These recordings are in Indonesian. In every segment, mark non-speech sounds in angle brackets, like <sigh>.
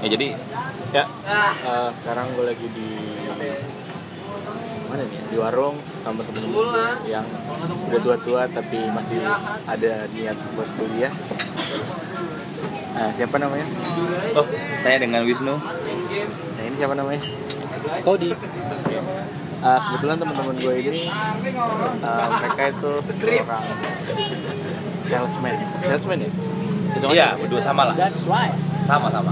ya jadi ya eh, sekarang gue lagi di mana nih ya? di warung sama temen yang udah tua-tua tapi masih ada niat buat kuliah nah, siapa namanya Oh, saya dengan Wisnu. nah ini siapa namanya Kodi. Ah, kebetulan teman-teman gue ini ah, mereka itu orang salesman salesman ya Hitungannya Iya, berdua sama lah. That's right. Sama-sama.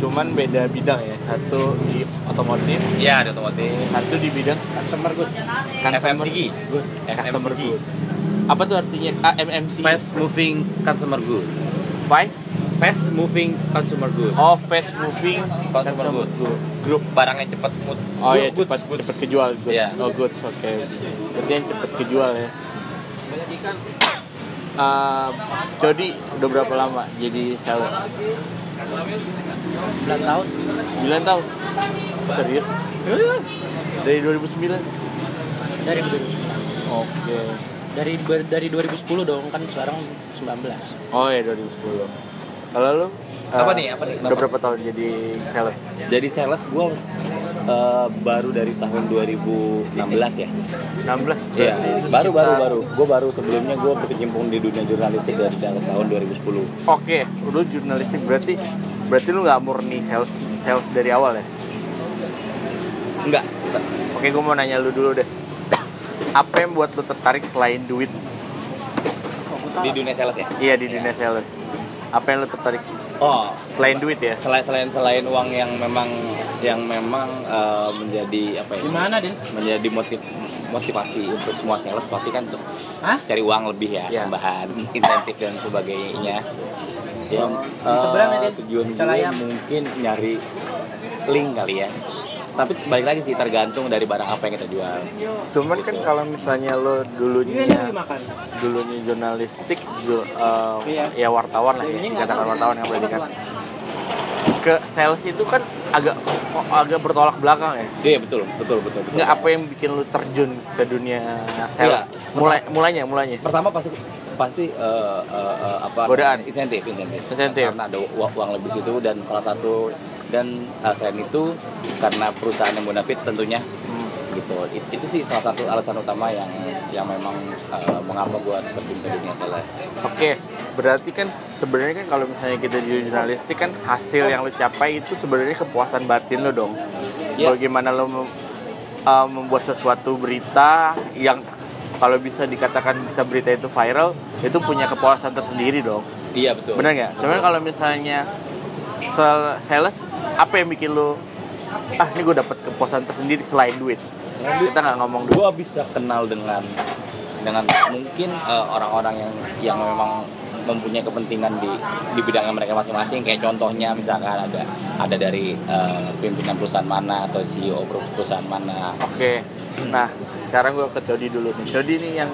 cuman beda bidang ya satu di otomotif Iya, di otomotif. satu di bidang Customer good. customer FMCG. good. Customer FMCG. good. apa tuh artinya ah, MMC Fast moving consumer good. Five? Fast moving consumer good. oh fast moving Consumer good. group Barang yang cepat mood. oh ya iya, Goods, cepat goods. cepat kejual goods Iya. oh goods oke berarti yang cepat kejual ya Ah, Jody udah berapa lama jadi sales? 9 tahun. 9 tahun? Serius? Dari 2009? Dari 2009. Oke Dari dari 2010 dong kan sekarang 19. Oh ya 2010 Kalau lu? Apa eh, nih, apa nih? Udah berapa tahun jadi sales? Jadi sales gue baru dari tahun 2016 ya. 16? Iya, baru Berarti baru sekitar- baru. Gue baru sebelumnya gue berkecimpung di dunia jurnalistik dari tahun 2010. Oke, lu jurnalistik berarti berarti lu nggak murni sales sales dari awal ya? Enggak. Oke, gue mau nanya lu dulu deh. <coughs> Apa yang buat lu tertarik selain duit? Di dunia sales ya. Iya di dunia sales. Apa yang lu tertarik Oh, selain duit ya? selain selain selain uang yang memang yang memang eh, menjadi apa ya? Gimana, Din? Menjadi motiv motivasi untuk semua sales pasti kan untuk Hah? cari uang lebih ya, Iya. tambahan insentif dan sebagainya. Ya, eh, seberangnya, Din. tujuan gue Kita layap. mungkin nyari link kali ya. Tapi balik lagi sih tergantung dari barang apa yang kita jual. Cuman kan kalau misalnya lu dulunya dulunya jurnalistik, ju- eh, ya wartawan lah ya, dikatakan wartawan yang berarti kan ke sales itu kan agak agak bertolak belakang ya. Iya betul, betul, betul. betul. Nggak apa ya? yang bikin lu terjun ke dunia Iya. sales? Mulai mulainya mulainya. pertama pasti pasti eh, eh, eh, apa Godaan. insentif insentif Insentif. karena ada uang, uang lebih itu dan salah satu dan eh, selain itu karena perusahaan yang bonafit tentunya Hmm. gitu It- itu sih salah satu alasan utama yang yang memang eh, mengapa gua terjun ke dunia sales Oke, berarti kan sebenarnya kan kalau misalnya kita di jurnalistik kan hasil yang lu capai itu sebenarnya kepuasan batin lu dong. Iya. Bagaimana lu mem- uh, membuat sesuatu berita yang kalau bisa dikatakan bisa berita itu viral, itu punya kepuasan tersendiri dong. iya betul Benar nggak? Cuman kalau misalnya sel- sales, apa yang bikin lu ah ini gue dapat kepuasan tersendiri selain duit? Kita nggak ngomong duit. gua bisa kenal dengan dengan mungkin eh, orang-orang yang yang memang mempunyai kepentingan di di bidang mereka masing-masing kayak contohnya misalkan ada ada dari eh, pimpinan perusahaan mana atau CEO per- perusahaan mana Oke, nah sekarang gue ke Jody dulu nih. Jody nih yang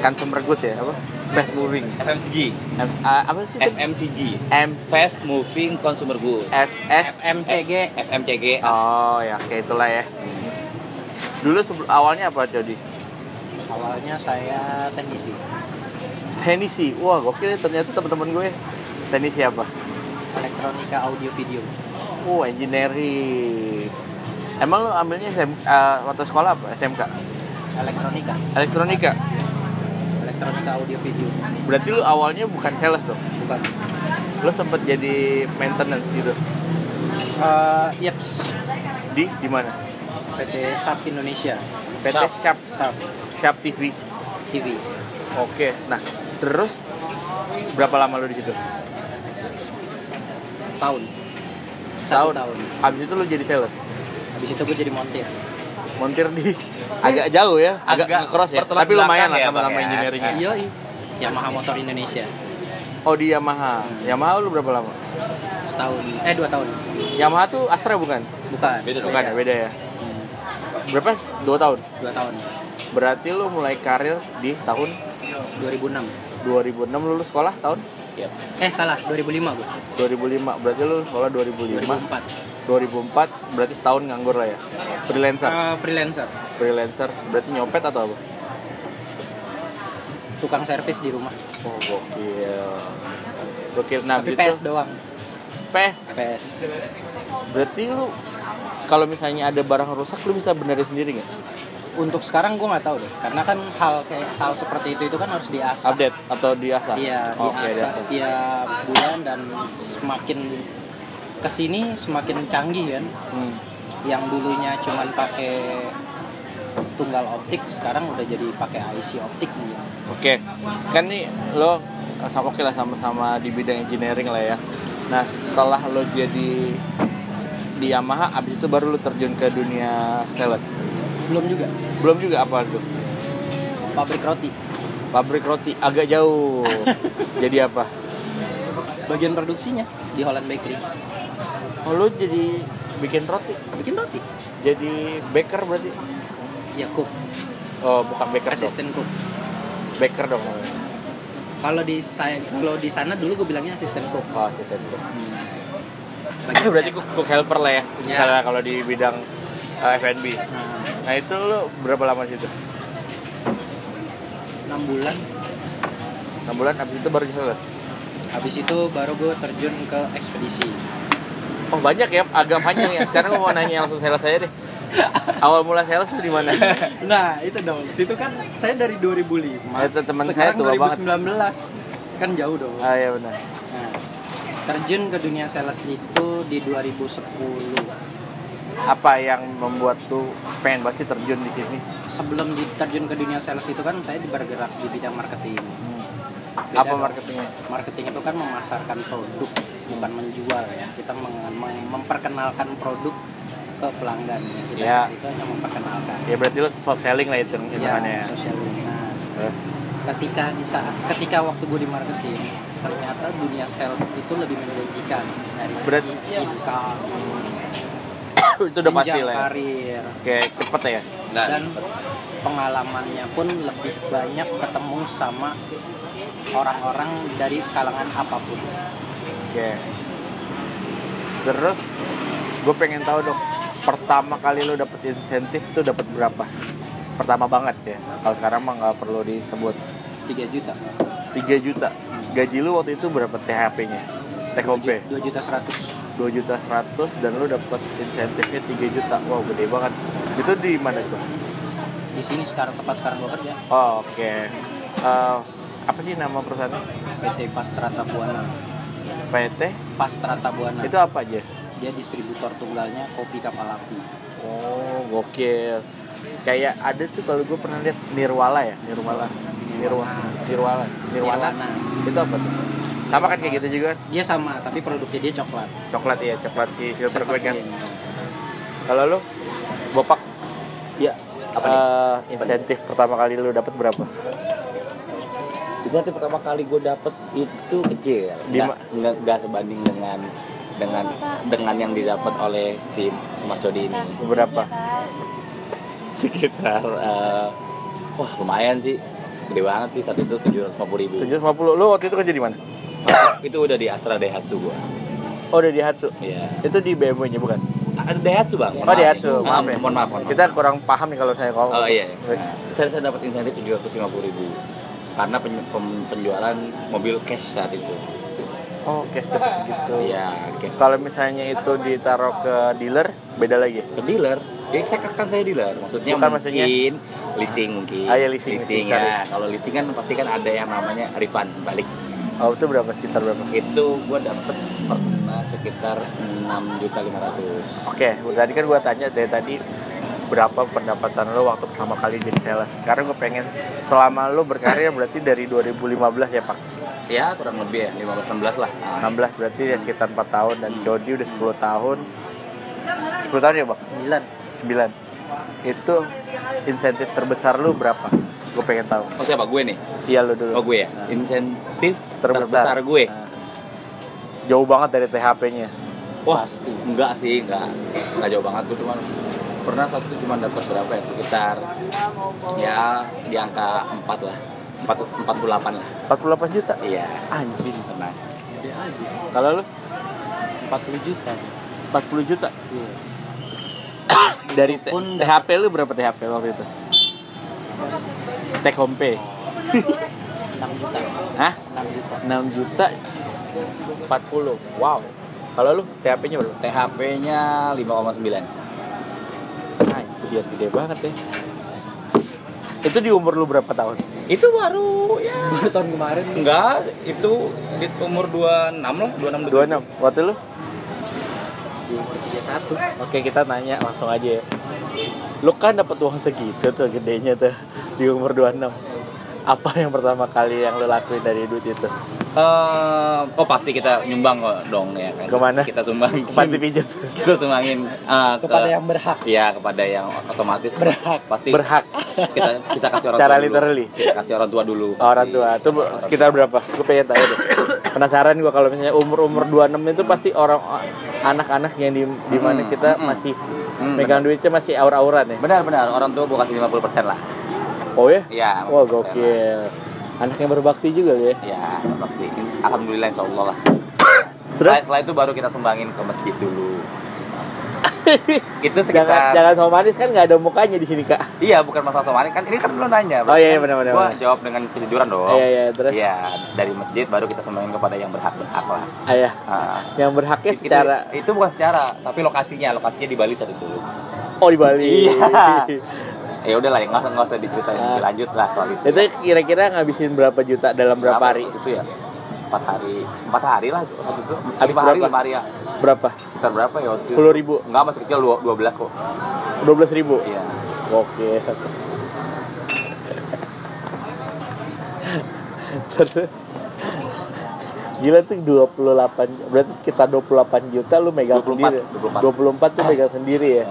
consumer good ya, apa? Fast moving. FMCG M, ah, apa sih? itu? FMCG M Fast Moving Consumer Goods F S. FMCG. FMCG Oh ya, kayak itulah ya. Dulu sebelum awalnya apa Jody? Awalnya saya teknisi. Tenisi. Wah, gokil ya ternyata teman-teman gue. Tenisi apa? Elektronika audio video. Oh, engineering. Emang lo ambilnya SM, eh, waktu sekolah apa? SMK? Elektronika. Elektronika? Elektronika audio video. Berarti lo awalnya bukan sales dong? Bukan. Lo sempet jadi maintenance gitu? Eh, yeps. Di? Di mana? PT Sub Indonesia. PT Sub. Cap, Sub Cap TV. TV. Oke, nah terus berapa lama lo di situ? Tahun. Satu tahun. Habis itu lo jadi sales? Habis itu gue jadi montir. montir <laughs> di agak jauh ya, agak, Agak cross ya. pertelan Tapi lumayan belakang lah ya, sama-sama Bang, ya. engineeringnya. Iya. Yamaha Motor Indonesia. Oh di Yamaha. Yamaha lu berapa lama? Setahun. Eh dua tahun. Yamaha tuh Astra bukan? Bukan. Hmm, Beda dong. Bukan ya, beda ya. Berapa? Dua tahun. Dua tahun. Berarti lu mulai karir di tahun 2006. 2006 lu lulus sekolah tahun Yep. Eh salah. 2005 gue. 2005. Berarti lu lulus sekolah 2005. 2004. 2004 berarti setahun nganggur lah ya. Freelancer. Eh, freelancer. Freelancer berarti nyopet atau apa? Tukang servis di rumah. Oh, gokil. Nah, gitu. Gokil nah, Ah, Tapi abis itu- PS doang. FPS FPS. berarti lu kalau misalnya ada barang rusak lu bisa benerin sendiri nggak Untuk sekarang gue nggak tahu deh, karena kan hal kayak hal seperti itu itu kan harus diasah. update atau diasah Iya, Oke, diasah diasah. setiap bulan dan semakin kesini semakin canggih kan. Hmm. Yang dulunya cuman pakai tunggal optik sekarang udah jadi pakai IC optik gitu. Oke, kan nih lo eh, sama oke lah sama-sama di bidang engineering lah ya. Nah setelah lo jadi di Yamaha, abis itu baru lo terjun ke dunia sales. Belum juga Belum juga apa tuh? pabrik roti. Pabrik roti agak jauh. jadi apa? Bagian produksinya di Holland Bakery. Oh, lo jadi bikin roti, Bikin roti. jadi baker berarti? Ya cook, Oh bukan baker dong, asisten cook. baker dong. namanya. Kalau di saya kalau di sana dulu gue bilangnya asisten cook. Oh asisten cook. Bagian Berarti chef. cook, cook helper lah ya, Iya. misalnya kalau di bidang eh, F&B. Nah, Nah itu lo berapa lama di situ? 6 bulan 6 bulan, abis itu baru di sales. habis itu baru gue terjun ke ekspedisi Oh banyak ya, agak panjang ya. Sekarang gue mau nanya langsung sales saya deh. Awal mula sales tuh di mana? <laughs> nah itu dong situ kan saya dari 2005 Itu teman saya sekarang tua banget. 2019 kan jauh dong Ah iya benar. Nah, terjun ke dunia sales itu di 2010 Apa yang membuat tuh pengen banget sih terjun di sini? sebelum diterjun ke dunia sales itu kan saya bergerak di bidang marketing Apa Beda dong. marketingnya? marketing itu kan memasarkan produk bukan menjual ya kita meng- meng- memperkenalkan produk ke pelanggan yang kita Ya. cari itu hanya memperkenalkan Ya berarti lo soft selling lah itu hitungannya ya. ya, sosial media. Eh, ketika di saat ketika waktu gue di marketing ternyata dunia sales itu lebih menjanjikan dari segi Berat. income, itu udah pasti jenjang lah. Ya. karir Kayak cepet ya. Nah, dan pengalamannya pun lebih banyak ketemu sama orang-orang dari kalangan apapun Oke. Terus gue pengen tahu dong pertama kali lo dapet insentif tuh dapat berapa? Pertama banget ya. Kalau sekarang mah nggak perlu disebut. 3 juta 3 juta gaji lu waktu itu berapa THP nya take home pay 2 juta 100 2 juta 100 dan lu dapet insentifnya 3 juta wow gede banget itu di mana tuh di sini sekarang tempat sekarang gue kerja oh, oke Eh, apa sih nama perusahaannya PT Pastrata Buana PT Pastrata Buana itu apa aja dia distributor tunggalnya kopi kapal api oh gokil kayak ada tuh kalau gue pernah lihat Nirwala ya Nirwala Nirwala Nirwala Nirwana Nirwana. itu apa tuh sama kan kayak gitu juga kan? dia sama tapi produknya dia coklat coklat ya coklat si silver Silver Queen kan Queen. Kalau lu bopak ya Apa nih? eh, insentif pertama kali lu dapat berapa? Insentif pertama kali gue dapet itu kecil, Di nggak nggak- nggak sebanding dengan dengan dengan yang didapat oleh si, si Mas Dodi ini. Berapa? Sekitar eh, wah lumayan sih, gede banget sih saat itu 750 ribu. 750. Lu waktu itu kerja di mana? itu udah di Astra Daihatsu gue. Oh, udah di Hatsu. Iya. Itu di BMW-nya bukan? Ada Daihatsu bang. Oh, di Hatsu. Ah, Maaf ya. Mohon maaf. Mohon maaf. Kita kurang paham nih kalau saya Oh ngomong. iya. Nah. Saya, saya dapat insentif 750 ribu karena pen- pem- penjualan mobil cash saat itu. Oh, oke gitu. Iya, cash. Kalau misalnya itu ditaruh ke dealer, beda lagi. Ke dealer. Ya, saya kan saya dealer. Maksudnya Bukan, mungkin maksudnya- leasing mungkin. Ah, iya, leasing, leasing, ya. Kalau leasing kan pasti kan ada yang namanya refund balik. Oh, itu berapa? Sekitar berapa? Itu gua dapat pernah sekitar 6 juta 500. Oke, tadi kan gua tanya dari tadi berapa pendapatan lo waktu pertama kali jadi sales. Sekarang gue pengen selama lo berkarir berarti dari 2015 ya, Pak? Ya, kurang lebih ya 15 16 lah. Nah, 16 berarti ya sekitar 4 tahun dan Dodi udah 10 tahun 10 tahun ya bang? 9 itu insentif terbesar lu berapa? gue pengen tahu Oh, siapa gue nih? iya lu dulu Oh, gue ya. Insentif Terbesar. terbesar, gue. Nah, jauh banget dari THP nya Wah, enggak sih, enggak. Enggak jauh banget gue cuman pernah satu cuma dapat berapa ya? Sekitar ya di angka 4 lah. 4 48 lah. 48 juta Iya, anjing Nah, pernah. Dia aja kalau lu 40 juta 40 juta Iya. dari te- Pun THP lu berapa THP waktu itu? take home pay 6 juta hah? 6 juta 6 juta 40 wow Kalau lu THP-nya berapa? THP-nya 5,9 Anjir, gede banget ya. Itu di umur lu berapa tahun? itu baru ya <laughs> Baru tahun kemarin enggak itu di umur 26 lah 26 26. Waktu lu? di umur 31 Oke, kita nanya langsung aja ya. Lu kan dapat uang segitu tuh gedenya tuh di umur 26. Apa yang pertama kali yang lu lakuin dari duit itu? Eh, oh pasti kita nyumbang kok dong ya kan Kemana? kita sumbang Ke Panti pijat. kita sumbangin eh, ke- kepada yang berhak Iya kepada yang otomatis berhak pasti Berhak. kita kita kasih orang Secara tua literally. dulu. kita kasih orang tua dulu Oh, orang tua itu ber- sekitar berapa? Gue pengen tahu deh. Penasaran gua kalau misalnya umur-umur 26 itu pasti orang anak-anak yang di di mana Mm, kita mm. masih Hmm, megang duitnya masih aur-auran ya. benar benar orang tua gue kasih 50% lah Oh ya? iya Wah 50% lah. gokil. Anak yang berbakti juga lu ya. ya pasti alhamdulillah insya Allah lah Terus setelah, setelah itu baru kita sumbangin ke masjid <laughs> dulu itu sekitar jangan jangan sama manis kan nggak ada mukanya di sini kak. iya bukan masalah somani kan ini kan belum nanya Oh, iya, iya, benar, benar, gue benar. jawab dengan kejujuran dong Iya iya terus Iya, dari masjid baru kita sumbangin kepada yang berhak berhak lah ayah Ah. yang berhaknya Itu- secara itu, bukan secara tapi lokasinya lokasinya di Bali saat itu oh di Bali. Iya. ya udahlah ya nggak usah- nggak usah diceritain Ah. lanjut lah soal itu <laughs> itu kira-kira ngabisin berapa juta dalam berapa hari? itu ya empat hari empat hari lah itu waktu itu Habis lima hari berapa? lima hari ya Berapa? sekitar berapa ya waktu itu? 10.000. nggak masih kecil dua dua belas kok 12 ribu. iya Oke. Terus Gila tuh 28 Berarti sekitar 28 juta lu megang 24, sendiri 24 tuh megang sendiri ya Iya.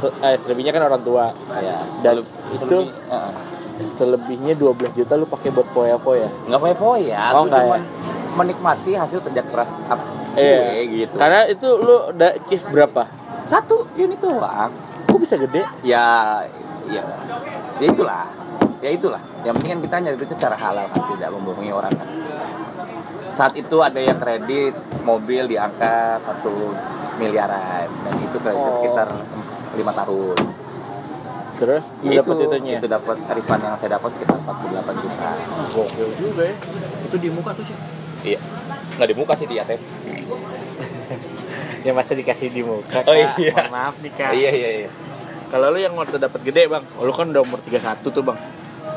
Se- eh, Selebihnya kan orang tua iya Dan Seleb- itu- selebih- eh, Selebihnya 12 juta lu pakai buat foya-foya nggak poya poya Oh, nggak cuman menikmati hasil kerja keras up Iya. gue gitu Karena itu lu udah chief berapa? satu unit doang Kok bisa gede? ya ya ya itulah ya itulah yang penting kan kita nyari duitnya secara halal kan tidak membohongi orang kan saat itu ada yang kredit mobil di angka satu miliaran dan itu kreditnya Oh. sekitar lima tahun Terus lu Ya Iya, dapet itunya itu dapat refund yang saya dapat sekitar 48 juta Gokil juga ya itu di muka tuh cuy iya nggak di muka sih di ATM Ya masa dikasih di muka Oh, Kak. iya. Mohon Maaf nih kak iya iya iya Kalau lu yang waktu dapat gede bang, oh, lu kan udah umur 31 tuh bang.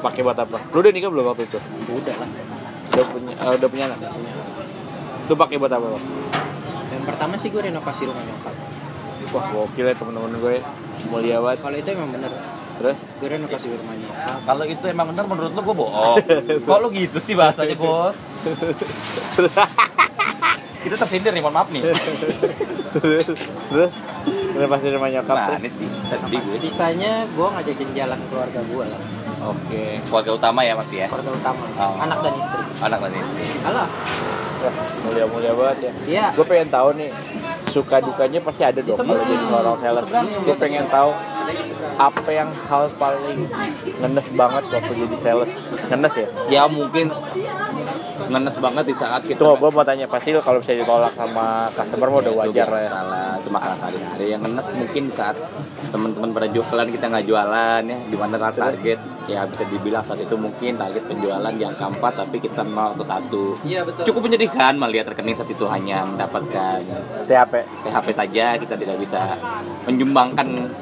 Pakai buat apa? Lu udah nikah belum waktu itu? udah lah Udah punya, eh, udah punya anak. Lu pakai buat apa bang? yang pertama sih gue renovasi rumah nyokap Wah gokil ya temen-temen gue mulia banget. kalau itu emang bener Terus gue renovasi rumah nyokap kalau itu emang benar menurut lu gue <laughs> bohong kok lu gitu sih bahasanya <laughs> bos kita tersindir nih mohon maaf <laughs> nih terus terus udah pasti rumah nyokap. nah terus. ini sih sedih gue sisanya gue ngajakin jalan keluarga gue lah Oke, keluarga utama ya Mas ya. keluarga utama Oh. anak dan istri Anak tadi. alah Wah mulia-mulia banget ya. iya Gue pengen tahu nih suka dukanya pasti ada dong sebelah. kalau jadi seorang seller. Di sebelah, yang Gue biasa pengen kita- tahu apa yang hal paling ngenes banget waktu jadi sales. Ngenes ya? Ya mungkin ngenes banget di saat kita Tuh, gue mau tanya pasti lo kalau bisa ditolak sama customer mah udah Itu wajar lah ya. Salah, cuma karena sehari-hari yang ngenes mungkin di saat teman-teman pada jualan kita nggak jualan ya, di mana tar- target ya bisa dibilang saat itu mungkin target penjualan di angka 4 tapi kita 0 atau 1. iya betul Cukup menyedihkan melihat rekening saat itu hanya mendapatkan THP THP saja kita tidak bisa menyumbangkan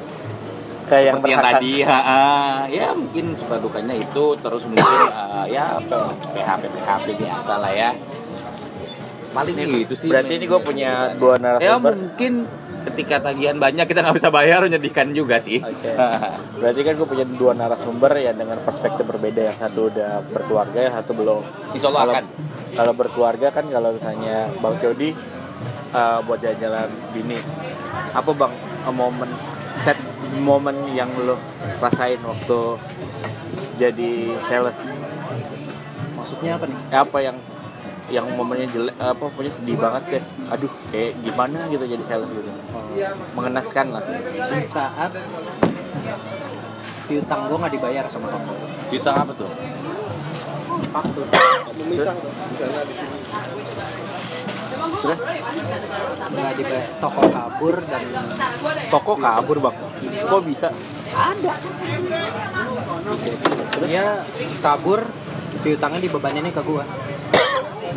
kayak yang seperti yang berhak. tadi ha, ha. ya mungkin suka dukanya itu terus mungkin eh, ya PHP PHP biasa lah ya paling gitu sih Berarti men. ini gue punya dua ya narasumber. mungkin ketika tagihan banyak kita nggak bisa bayar menyedihkan juga sih Oke. <laughs> Berarti kan gue punya dua narasumber ya dengan perspektif berbeda. Yang satu udah berkeluarga, yang satu belum. Insya Allah Kalau- akan. Kalau berkeluarga kan kalau misalnya Bang Cody eh, buat jalan-jalan bini, apa bang eh, momen set momen yang lo rasain waktu jadi sales Eh, maksudnya apa nih apa yang yang momennya jelek eh, apa pokoknya sedih banget deh aduh kayak gimana gitu jadi sales gitu Iya. mengenaskan lah di saat piutang gue nggak dibayar sama kamu kita apa tuh faktur nggak dibayar toko kabur dan toko kabur bang kok bisa dia Iya, kabur piutangnya dibebaninnya ke gue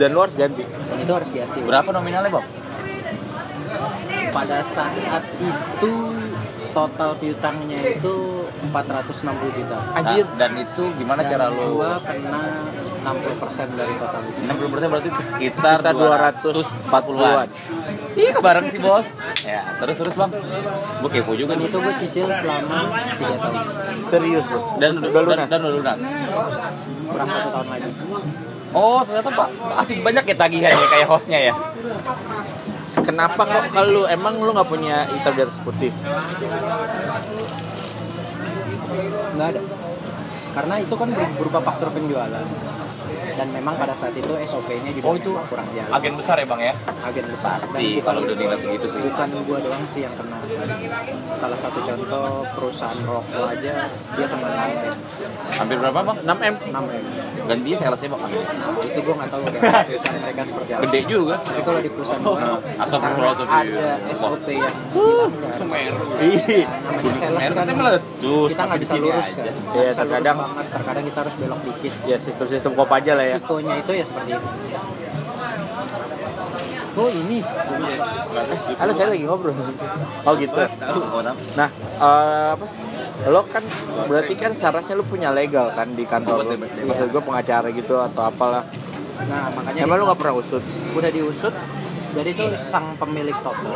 dan luar ganti dan itu harus diatur berapa nominalnya bang pada saat itu total piutangnya itu 460 juta. Anjir. dan itu gimana Dan cara lu gua kena 60% dari total itu. 60% berarti sekitar Sekitar 240-an. Iya, kebareng sih, Bos. Ya, terus terus, Bang. Gue kepo juga Dan nih. itu gue cicil selama 3 tahun. serius bro Dan udah lunas. Dan udah lunas. Kurang satu tahun lagi. Oh, ternyata Pak, asik banyak ya tagihan ya kayak hostnya ya. kenapa kok kalau lu- emang lu nggak punya hitam di atas putih Nggak ada. Karena itu kan ber- berupa faktor penjualan. Dan memang pada saat itu SOP-nya juga Oh, itu memang kurang jalan. Agen besar ya, Bang ya. agen besar dan Di bukan- kalau udah dinas segitu sih. bukan gua doang sih yang kena salah satu contoh perusahaan rokok aja dia kena ya. 6 m Hampir berapa, Bang? 6M 6 m Gantinya salesnya Bang. ya. itu gua nggak tahu <laughs> ya perusahaan mereka seperti apa Gede juga. tapi kalau di perusahaan gua Asal karena perlu ada SOP yang hilangnya Ih, namanya Nah, sales kan meletus. kita nggak bisa lurus kan Nggak Iya, bisa lurus terkadang. banget terkadang kita harus belok dikit ya sistem sistem kop aja lah ya Risikonya itu ya seperti itu oh ini halo saya lagi ngobrol oh gitu Tahu orang. nah eh, apa lo kan berarti kan seharusnya lu punya legal kan di kantor lo maksud gue pengacara gitu atau apalah nah makanya emang di- lu nggak pernah usut udah diusut jadi itu sang pemilik toko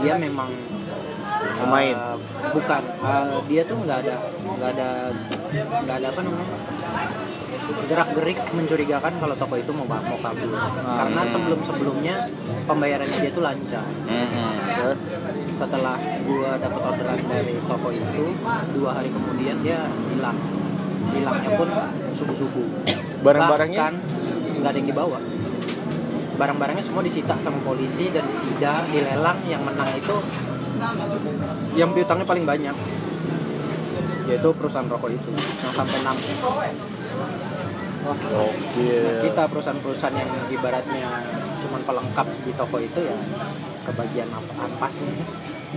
dia memang Pemain. eh, bukan Eh, dia tuh nggak ada nggak ada nggak ada apa namanya gerak gerik mencurigakan kalau toko itu mau mau kabur Hmm. karena sebelum sebelumnya pembayarannya dia tuh lancar Terus, setelah gua dapat orderan dari toko itu dua hari kemudian dia hilang hilangnya pun subuh subuh Barang-barangnya? Bahkan nggak ada yang dibawa barang-barangnya semua disita sama polisi dan disida dilelang yang menang itu yang piutangnya paling banyak yaitu perusahaan rokok itu yang sampai Iya. 6 oke kita perusahaan-perusahaan yang ibaratnya cuman pelengkap di toko itu ya kebagian apa ampasnya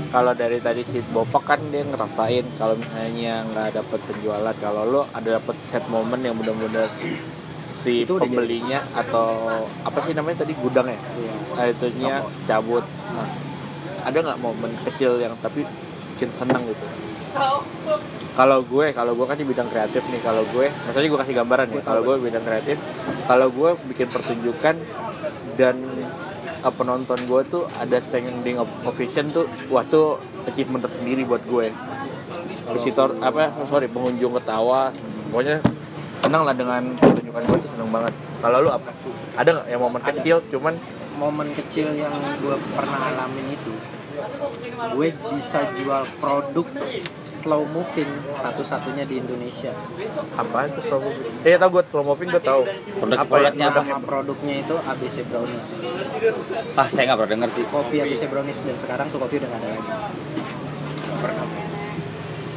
kalau dari tadi si Bopak kan dia ngerasain kalau misalnya nggak dapet penjualan kalau lo ada dapet set moment yang benar-benar si Itu udah jadi. pembelinya atau apa sih namanya tadi gudang ya Iya. nah, itunya cabut nah ada nggak momen kecil yang tapi bikin seneng gitu kalau gue kalau gue kan di bidang kreatif nih kalau gue maksudnya gue kasih gambaran ya Gue tahu. kalau gue bidang kreatif kalau gue bikin pertunjukan dan eh, penonton gue tuh ada standing of- ovation tuh wah tuh achievement tersendiri buat gue visitor apa sorry pengunjung ketawa pokoknya senang lah dengan pertunjukan gue tuh seneng banget kalau lu apa ada nggak yang momen kecil cuman momen kecil yang gue pernah alamin itu gue bisa jual produk slow moving satu-satunya di Indonesia apa itu slow moving? Eh tau gue slow moving gue tau. Produk- apa ya? produknya apa? nama produknya itu ABC Brownies Ah, saya nggak pernah denger sih. kopi ABC Brownies dan sekarang tuh kopi udah gak ada lagi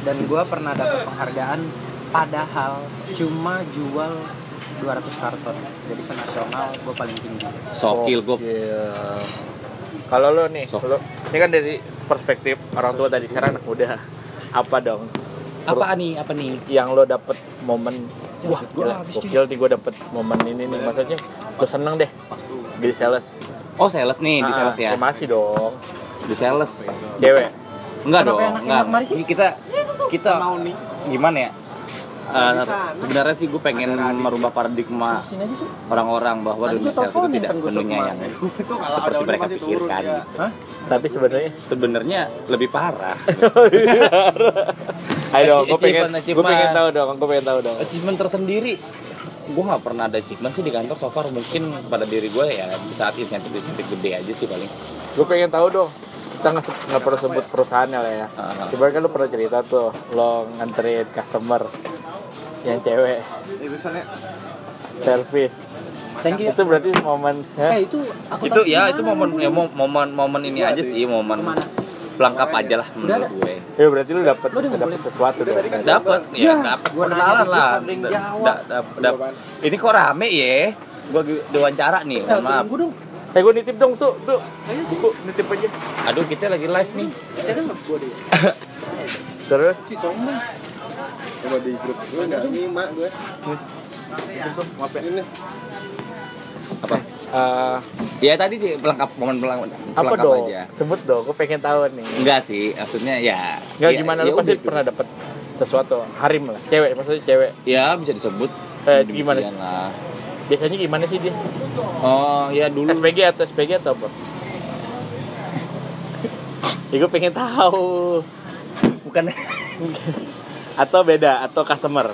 dan gue pernah dapat penghargaan padahal cuma jual 200 karton jadi senasional gue paling tinggi Sokil gue Gokil. Kalau lo nih, Sok. lo ini kan dari perspektif orang tua tadi sekarang anak muda. Apa dong apa nih apa nih yang lo dapet momen wah gila, gokil nih gue dapet momen ini nih maksudnya lo seneng deh jadi sales oh sales nih di Ah, sales ya ya masih dong di sales cewek enggak Kenapa dong enak-enak enggak kemarin sih? Ini kita kita gimana ya Eh, sebenarnya sih gue pengen merubah paradigma Ah, sini aja sih orang-orang bahwa Tadi dunia gue sales itu teleponin tidak kan gue sepenuhnya suruh yang seperti mereka pikirkan iya. ya. gitu. tapi sebenarnya sebenarnya lebih parah <laughs> ayo Achievement, dong gue pengen gue pengen achievement. tahu dong gue pengen tahu dong achievement tersendiri gue nggak pernah ada achievement sih di kantor so far mungkin pada diri gue ya di saat insentif-insentif gede aja sih paling gue pengen tahu dong kita nggak nggak perlu sebut perusahaannya lah ya Ah. Coba kan lu pernah cerita tuh lo nganterin customer yang cewek service thank you itu berarti momen eh ya? itu aku itu tahu ya sih itu mana. momen ya, mo- momen momen ini aja sih momen Kemana? pelengkap aja lah menurut gue ya berarti lu dapet dapet sesuatu dong dapat ya dapat gua perkenalan nanya lah juga, ada yang Da- jawab. da- da- da- ini kok rame ya gue diwawancara nih mohon maaf Nah, Tunggu dong. eh gue nitip dong tuh tuh buku nitip aja aduh kita lagi live nih Saya kan nggak gua deh. terus Si Tommy. Coba di grup Hmm. gue nggak nyimak gue. maaf ya Ini apa Eh, Ya tadi di- pelengkap momen pelengkap, apa pelengkap dong? aja. Sebut dong, gue pengen tahu nih. Enggak sih, maksudnya ya. Enggak ya, gimana ya lu pasti udah. pernah dapet sesuatu harim lah cewek maksudnya cewek Ya bisa disebut. Eh, Demikian gimana? lah. biasanya gimana sih dia Oh ya dulu SPG atau SPG atau apa ya gue pengen tahu bukan <laughs> atau beda atau customer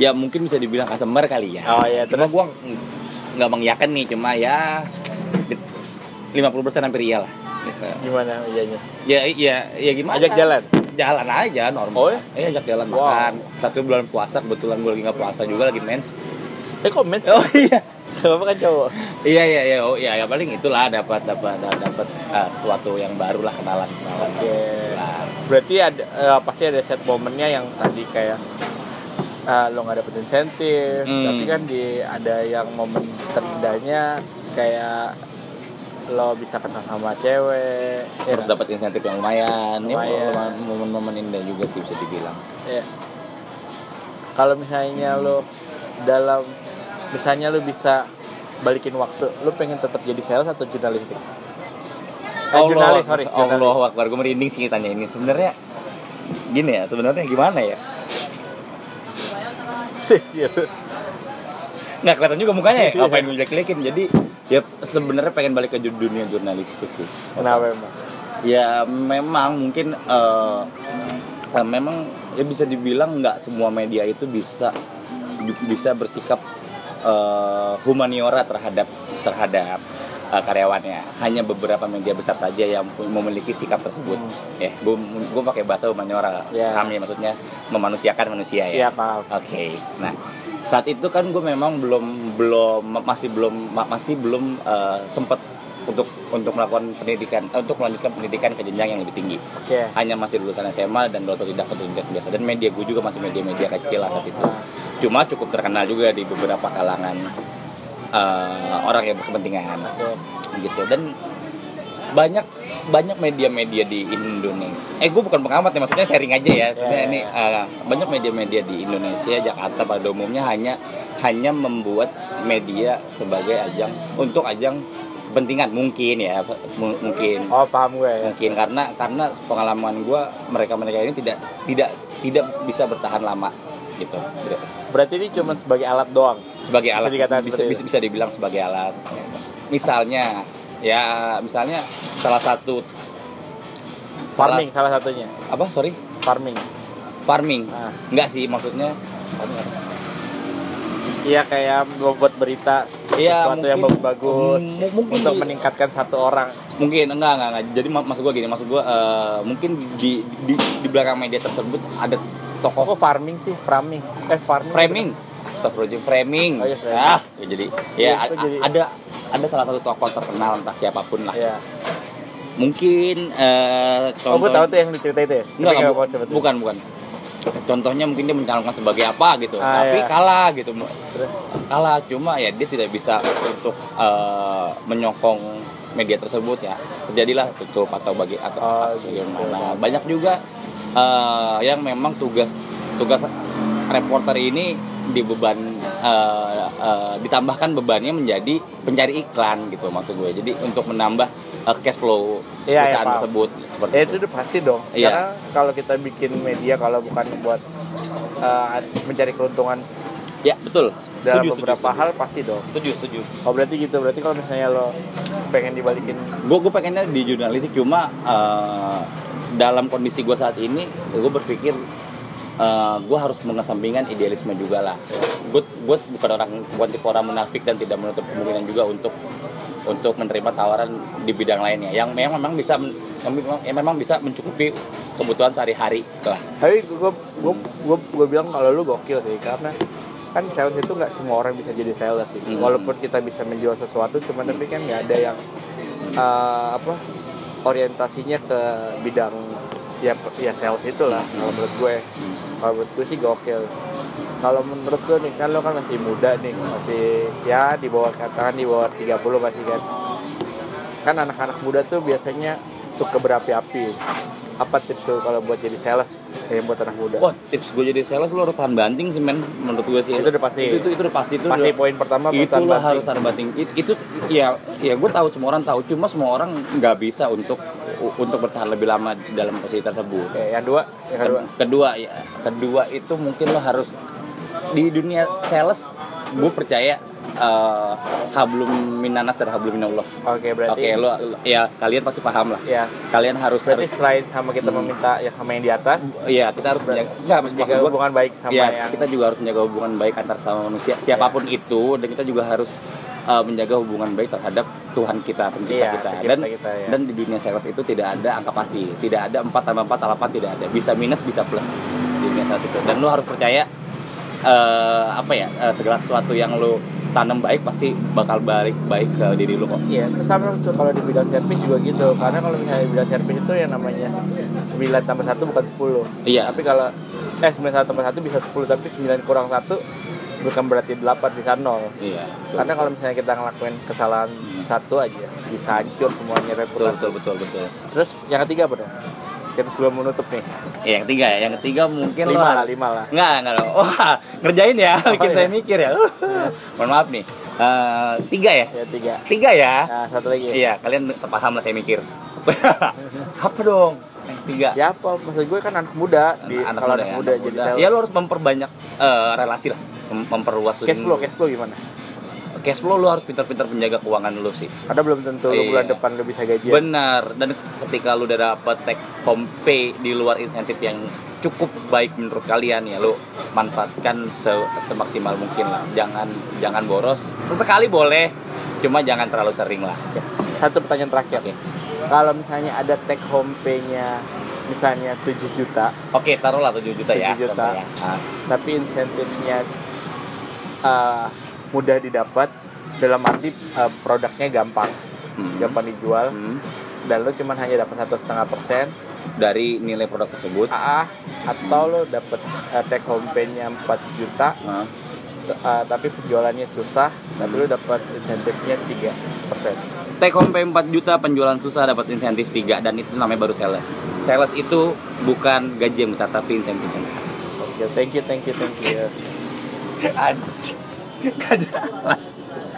ya mungkin bisa dibilang customer kali ya. oh ya cuma terus gua ng- nggak mengiyakan nih cuma ya di- 50% hampir iya lah. Gitu. gimana ijanya Ya ya ya gimana? ajak jalan Jalan aja normal. Oh, ya? Eh, ajak jalan Wow. makan. Satu bulan puasa kebetulan gue lagi nggak puasa juga lagi mens. eh komen Oh iya. apa kan cowok Iya iya iya oh iya ya paling itulah dapat dapat dapat eh, sesuatu yang baru lah kenalan kenalan. Oke. Kenalan. berarti ada eh, pasti ada set momennya yang tadi kayak eh, lo nggak dapet insentif Hmm. tapi kan di ada yang momen terindahnya kayak lo bisa kenal sama cewek ya Terus kan? dapat insentif yang lumayan. Ya, Lumayan. momen-momen indah juga sih bisa dibilang. Iya. kalau misalnya lo dalam misalnya lo bisa balikin waktu lo pengen tetap jadi sales atau jurnalistik Eh, jurnalis sorry jurnalis. Allah Akbar, gue merinding sih tanya ini. Sebenarnya gini ya, sebenarnya gimana ya? Iya. Nggak kelihatan juga mukanya ya, ngapain gue jelek-jelekin. Jadi ya sebenarnya pengen balik ke ju- dunia jurnalistik sih. kenapa emang Ya memang mungkin eh, eh, memang ya bisa dibilang nggak semua media itu bisa bi- bisa bersikap eh, humaniora terhadap terhadap eh, karyawannya. Hanya beberapa media besar saja yang pu- memiliki sikap tersebut. Ya, gue gue pakai bahasa humaniora. Ya. Kami maksudnya memanusiakan manusia ya. iya paham Oke. Nah, saat itu kan gue memang belum belum masih belum ma- masih belum sempat untuk untuk melakukan pendidikan eh, untuk melanjutkan pendidikan ke jenjang yang lebih tinggi. oke Hanya masih lulusan SMA dan tidak tidak biasa dan media gue juga masih media-media kecil lah saat itu. Cuma cukup terkenal juga di beberapa kalangan eh, orang yang berkepentingan Oke. gitu dan banyak banyak media-media di Indonesia. Eh gue bukan pengamat ya maksudnya sharing aja ya. Maksudnya Ya, ya, ini eh, banyak media-media di Indonesia Jakarta pada umumnya hanya hanya membuat media sebagai ajang untuk ajang kepentingan mungkin ya mu- mungkin oh paham gue ya mungkin karena karena pengalaman gue mereka mereka ini tidak tidak tidak bisa bertahan lama gitu berarti ini cuma sebagai alat doang sebagai alat Bisa dikatakan bisa, seperti bisa bisa dibilang sebagai alat misalnya ya misalnya salah satu farming salah satunya salah- apa sorry farming farming Ah. enggak sih maksudnya iya kayak membuat berita Iya, sesuatu yang mungkin- Hmm. bagus M- mungkin untuk di- meningkatkan satu orang mungkin enggak enggak, enggak. jadi mak- maksud gue gini maksud gue eh, mungkin di, di di belakang media tersebut ada oh, tokoh kok farming sih farming eh farming framing Astagfirullahaladzim, framing. Oh, iya, framing. Ah, ya jadi ya Iya, a- itu jadi- ada ada salah satu tokoh terkenal entah siapapun lah. Iya. Mungkin eh Oh, gue contoh- tahu tuh yang diceritain itu ya. Tapi Enggak, nggak enggak, mau bu- sebut. bukan, bukan. Contohnya mungkin dia mencalonkan sebagai apa gitu, Ah, tapi iya. kalah gitu. Terus? Kalah cuma ya dia tidak bisa untuk eh, menyokong media tersebut ya. Terjadilah tutup atau bagi atau Oh, atau gitu. bagaimana. Banyak juga eh, yang memang tugas tugas reporter ini dibeban eh, eh, ditambahkan bebannya menjadi pencari iklan gitu maksud gue. Jadi untuk menambah eh, cash flow Iya, iya, perusahaan paham. tersebut seperti Ya itu udah pasti dong. Iya. Karena kalau kita bikin media kalau bukan buat eh, mencari keuntungan Ya betul. dalam Setuju, beberapa setuju, hal pasti dong. Setuju, setuju. Oh berarti gitu. Berarti kalau misalnya lo pengen dibalikin Gue gue pengennya di jurnalistik cuma eh, dalam kondisi gue saat ini gue berpikir gue harus mengesampingkan idealisme juga lah. Gue gue bukan orang bukan tipe orang munafik dan tidak menutup kemungkinan juga untuk untuk menerima tawaran di bidang lainnya yang memang memang bisa men- yang memang, yang memang bisa mencukupi kebutuhan sehari-hari lah. tapi gue gue gue gue bilang kalau lu gokil sih karena kan sales itu nggak semua orang bisa jadi sales sih Hmm. walaupun kita bisa menjual sesuatu cuman tapi kan nggak ada yang eh, apa orientasinya ke bidang ya ya sales itulah kalau menurut gue kalau menurut gue sih gokil kalau menurut lo nih kan lo kan masih muda nih masih ya di bawah katakan di bawah 30 masih kan kan anak-anak muda tuh biasanya suka berapi-api apa tips lo kalau buat jadi sales kayak buat anak muda Wah tips gue jadi sales lo harus tahan banting sih men menurut gue sih Itu udah pasti. itu, itu, itu udah pasti itu pasti udah- poin pertama itu pertahanan lah banting. harus tahan banting It- itu ya ya gue tahu semua orang tahu cuma semua orang nggak bisa untuk untuk bertahan lebih lama dalam posisi tersebut Oke, yang dua yang kedua kedua kedua ya kedua itu mungkin lo harus di dunia sales gue percaya eh hablum minanas dan hablum minallah oke oke berarti lo lo- ya kalian pasti paham lah ya kalian harus berarti harus selain sama kita Hmm. meminta yang sama yang di atas Iya, kita harus menjaga, nggak, maksud jaga gua- hubungan baik sama Iya, yang Iya. kita juga harus menjaga hubungan baik antar sama manusia siapapun itu dan kita juga harus uh, menjaga hubungan baik terhadap Tuhan kita pencipta Iya, kita pencipta dan kita, ya. dan di dunia sales itu tidak ada angka pasti tidak ada empat tambah empat tambah 8 tidak ada bisa minus bisa plus di dunia sales itu dan lo harus percaya eh, apa ya eh, segala sesuatu yang lo tanam baik pasti bakal balik baik ke diri lo kok Iya, itu sama tuh kalau di bidang servis juga gitu. Karena kalau misalnya di bidang servis itu yang namanya 9 tambah 1 bukan 10. Iya. Tapi kalau eh 9 tambah 1 bisa 10, tapi 9 kurang 1 bukan berarti 8 bisa 0. iya betul. Karena kalau misalnya kita ngelakuin kesalahan satu aja bisa hancur semuanya betul reputasi. betul betul betul Terus yang ketiga apa dong? Kita sebelum menutup nih. ya, yang ketiga ya yang ketiga mungkin lo lima harus- lah, lima lah. Enggak, enggak dong. Wah, ngerjain ya, bikin iya. saya mikir ya. Mohon maaf nih. Eh, tiga ya? Ya tiga. Tiga ya? Nah, satu lagi. Iya, kalian paham lah saya mikir. <laughs> Apa dong? Yang Tiga. Ya apa? Maksud gue kan anak muda di kalau anak ya, muda anak jadi muda. sales. Ya lo harus memperbanyak eh, relasi lah, Mem- memperluas link- Cash flow, cash flow gimana? Cash flow lo harus pintar-pintar menjaga keuangan lo sih. Ada belum tentu Iya. lu bulan depan lu bisa gajian. Benar. Dan ketika lu udah dapet take home pay di luar insentif yang cukup baik menurut kalian ya lu manfaatkan se- semaksimal mungkin lah. Jangan jangan boros. Sesekali boleh, cuma jangan terlalu sering lah. Satu pertanyaan terakhir. Oke. Kalau misalnya ada take home pay-nya misalnya 7 juta, Oke, taruhlah 7 juta ya. 7 juta. contohnya. Ah, tapi insentifnya eh, mudah didapat dalam arti eh, produknya gampang, hmm. gampang dijual Hmm. dan lo cuman hanya dapat satu setengah persen Dari nilai produk tersebut. AA atau lo dapat eh, take home pay-nya 4 juta ah, eh, tapi penjualannya susah tapi lo dapat insentifnya 3 persen Take home pay 4 juta, penjualan susah dapat insentif 3 dan itu namanya baru sales. Sales itu bukan gaji yang besar tapi insentif yang besar. oke thank you thank you thank you Gak jelas.